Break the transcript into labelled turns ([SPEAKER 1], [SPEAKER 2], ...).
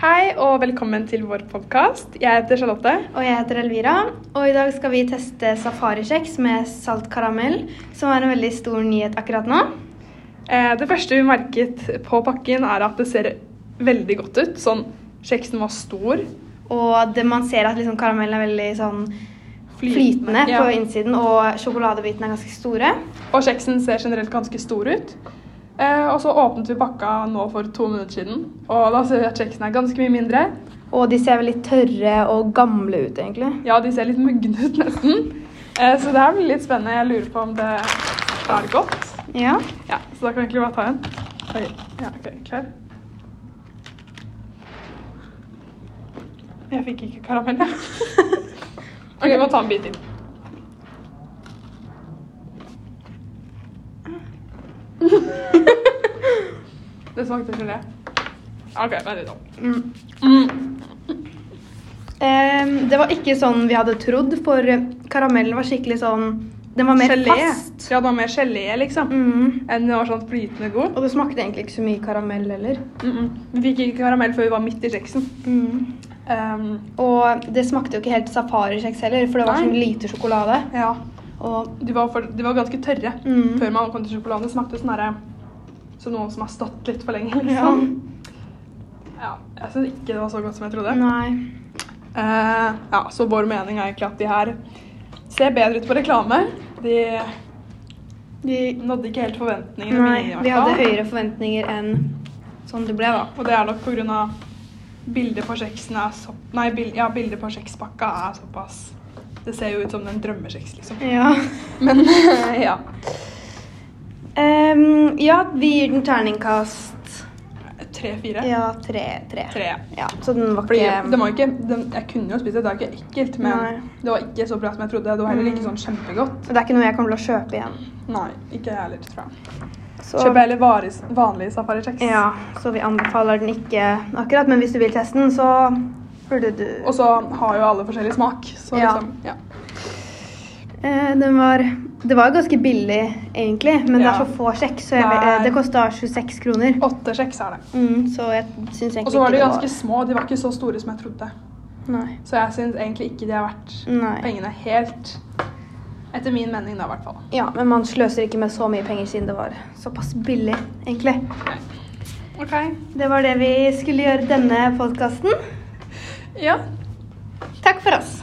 [SPEAKER 1] Hei og velkommen til vår podkast. Jeg heter Charlotte.
[SPEAKER 2] Og jeg heter Elvira, og i dag skal vi teste safarikjeks med saltkaramell, som er en veldig stor nyhet akkurat nå.
[SPEAKER 1] Eh, Det første vi merket på pakken, er at det ser veldig godt ut. Sånn, Kjeksen var stor.
[SPEAKER 2] Og det, man ser at liksom karamellen er veldig sånn
[SPEAKER 1] Flytende,
[SPEAKER 2] flytende på
[SPEAKER 1] ja.
[SPEAKER 2] innsiden, og sjokoladebitene er ganske store.
[SPEAKER 1] Og kjeksen ser generelt ganske stor ut. Eh, Og så åpnet vi pakka nå for to minutter siden, og da ser vi at kjeksen er ganske mye mindre.
[SPEAKER 2] Og de ser veldig tørre og gamle ut, egentlig.
[SPEAKER 1] Ja, de ser litt mugne ut nesten. Eh, Så det her blir litt spennende. Jeg lurer på om det er godt.
[SPEAKER 2] Ja.
[SPEAKER 1] Ja, så da kan vi egentlig bare ta en. Oi. Ja, ok, klar. Jeg fikk ikke karamell, jeg. ok, vi må ta en bit til. det smakte gelé. Ok, vent litt. da.
[SPEAKER 2] Mm.
[SPEAKER 1] Mm.
[SPEAKER 2] Ehm, det var ikke sånn vi hadde trodd, for karamellen var skikkelig sånn Den var mer fast.
[SPEAKER 1] Ja, det var mer gelé, liksom.
[SPEAKER 2] Mm.
[SPEAKER 1] Enn det var sånn flytende god.
[SPEAKER 2] Og det smakte egentlig ikke så mye karamell heller.
[SPEAKER 1] Mm -mm. Vi fikk ikke karamell før vi var midt i kjeksen.
[SPEAKER 2] Mm.
[SPEAKER 1] Ehm,
[SPEAKER 2] Og det smakte jo ikke helt safarikjeks heller, for det var
[SPEAKER 1] Nei.
[SPEAKER 2] sånn lite sjokolade.
[SPEAKER 1] ja.
[SPEAKER 2] Og
[SPEAKER 1] De var, for, de var ganske tørre
[SPEAKER 2] Mm.
[SPEAKER 1] før man kom til sjokolade. Det Smakte sånn herre Som noen som har stått litt for lenge,
[SPEAKER 2] ja.
[SPEAKER 1] liksom. Ja. Jeg syns ikke det var så godt som jeg trodde.
[SPEAKER 2] Nei.
[SPEAKER 1] Eh, ja, så vår mening er egentlig at de her ser bedre ut på reklame. De nådde ikke helt forventningene
[SPEAKER 2] Nei,
[SPEAKER 1] mine, i
[SPEAKER 2] vi
[SPEAKER 1] hvert
[SPEAKER 2] hadde
[SPEAKER 1] fall.
[SPEAKER 2] høyere forventninger enn sånn det ble, da.
[SPEAKER 1] Og det er nok pga. bildet på kjeksen er så Nei, bil, ja, bildet på kjekspakka er såpass Det ser jo ut som en drømmekjeks, liksom.
[SPEAKER 2] Ja.
[SPEAKER 1] Men ja.
[SPEAKER 2] Em, ja, vi gir den terningkast
[SPEAKER 1] Tre-fire.
[SPEAKER 2] Ja, tre. Tre.
[SPEAKER 1] Tre.
[SPEAKER 2] Ja, så den var
[SPEAKER 1] Fordi
[SPEAKER 2] ikke
[SPEAKER 1] det var ikke, den, Jeg kunne jo spist det, det er ikke ekkelt, men
[SPEAKER 2] Nei.
[SPEAKER 1] det var ikke så bra som jeg trodde. Det var heller ikke
[SPEAKER 2] Mm.
[SPEAKER 1] sånn kjempegodt.
[SPEAKER 2] Det er ikke noe jeg kommer til å kjøpe igjen.
[SPEAKER 1] Nei, ikke jeg heller, tror jeg.
[SPEAKER 2] Så,
[SPEAKER 1] Kjøper jeg heller varig, vanlig safarikjeks.
[SPEAKER 2] ja, så vi anbefaler den ikke akkurat, men hvis du vil teste den, så burde du
[SPEAKER 1] Og så har jo alle forskjellig smak, så
[SPEAKER 2] Ja.
[SPEAKER 1] liksom ja.
[SPEAKER 2] Eh, den var, det var ganske billig, egentlig, men det
[SPEAKER 1] Ja.
[SPEAKER 2] er så få sjekk. Så jeg,
[SPEAKER 1] Nei.
[SPEAKER 2] eh, det kosta 26 kroner.
[SPEAKER 1] Åtte kjeks er det.
[SPEAKER 2] Mm, så jeg syns egentlig
[SPEAKER 1] Og så var
[SPEAKER 2] ikke
[SPEAKER 1] de ganske små, de var ikke så store som jeg trodde.
[SPEAKER 2] var Nei.
[SPEAKER 1] Så jeg syns egentlig ikke de er verdt
[SPEAKER 2] Nei.
[SPEAKER 1] pengene helt. Etter min mening, da, i hvert fall.
[SPEAKER 2] Ja, men man sløser ikke med så mye penger siden det var såpass billig, egentlig.
[SPEAKER 1] Ok.
[SPEAKER 2] Det var det vi skulle gjøre denne podkasten.
[SPEAKER 1] Ja.
[SPEAKER 2] Takk for oss.